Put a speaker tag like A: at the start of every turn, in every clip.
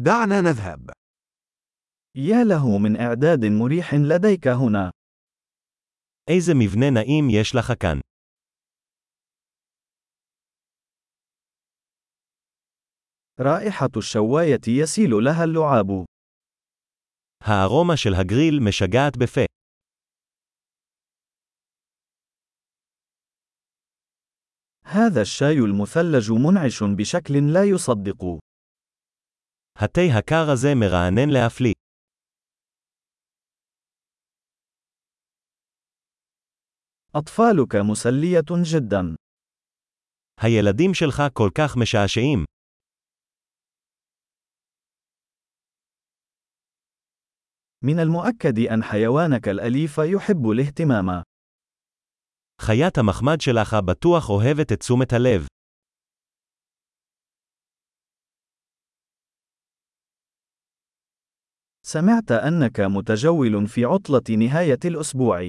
A: دعنا نذهب.
B: يا له من إعداد مريح لديك هنا.
C: איזה מבנה נעים יש לך כאן.
B: رائحة الشواية يسيل لها اللعاب.
C: הארומה של הגריל משגעת בפה.
B: هذا الشاي المثلج منعش بشكل لا يصدق.
C: התה הקר הזה מרענן להפליא.
B: أطفالك مسلية جدا.
C: הילדים שלך כל כך משעשעים.
B: من المؤكد أن حيوانك الأليف يحب الاهتمام.
C: חיית המחמד שלך בטוח אוהבת את תשומת הלב.
B: سمعت أنك متجول في عطلة نهاية الأسبوع.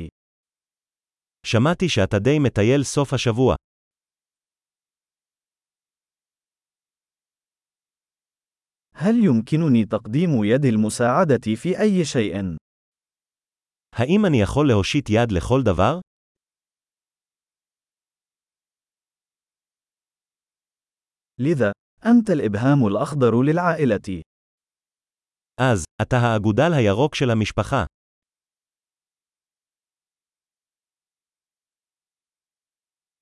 C: שמעתי שאתה די מטייל סוף השבוע.
B: هل يمكنني تقديم يد المساعدة في أي شيء؟
C: האם אני יכול להושיט יד לכל דבר?
B: لذا، أنت الإبهام الأخضر للعائلة.
C: אז, אתה האגודל הירוק של המשפחה.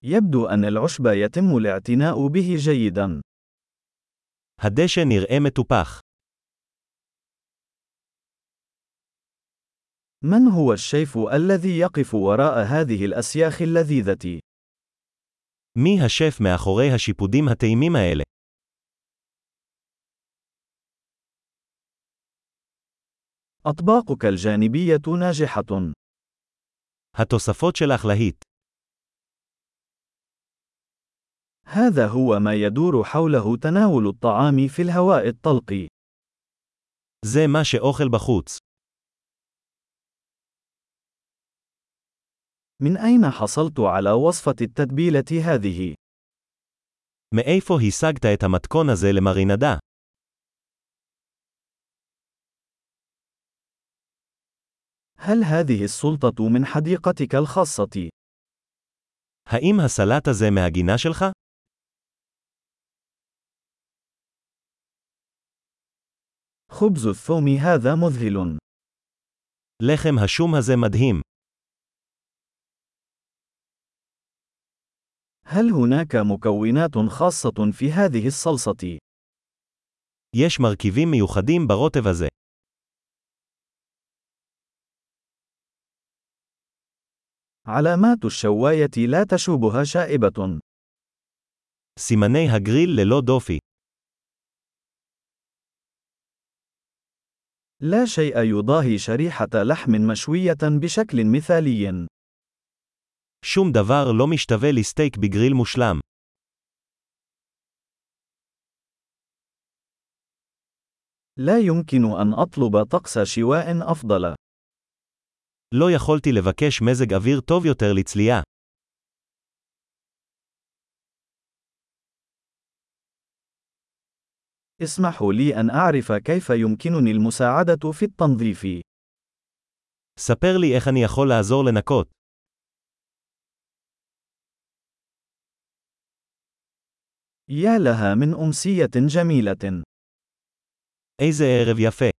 B: يبدو أن العشب يتم الاعتناء به جيداً.
C: הדשא נראה מטופח.
B: من هو الشيف الذي يقف وراء هذه الأسياخ اللذيذة؟
C: מי השף מאחורי השיפודים הטעימים האלה?
B: أطباقك الجانبية ناجحة.
C: התוספות שלך להיט.
B: هذا هو ما يدور حوله تناول الطعام في الهواء الطلق.
C: זה מה שאוכל בחוץ.
B: من أين حصلت على وصفة التتبيلة هذه؟
C: מאיפה השגת את המתכון הזה למרינדה?
B: هل هذه السلطة من حديقتك الخاصة؟
C: האם הסלט הזה מהגינה שלך?
B: خبز الثوم هذا مذهل.
C: לחם השום הזה מדהים.
B: هل هناك مكونات خاصة في هذه الصلصة؟
C: יש מרכיבים מיוחדים ברוטב הזה.
B: علامات الشواية لا تشوبها شائبة.
C: סימני הגריל ללא דופי.
B: لا شيء يضاهي شريحة لحم مشوية بشكل مثالي.
C: שום דבר לא משתווה לסטייק בגריל מושלם.
B: لا يمكن أن أطلب طقس شواء أفضل.
C: לא יכולתי לבקש מזג אוויר טוב יותר לצלייה.
B: اسمحوا لي أن أعرف كيف يمكنني المساعدة في التنظيف.
C: ספר לי איך אני יכול לעזור לנקות.
B: يا لها من أمسية جميلة.
C: איזה ערב יפה.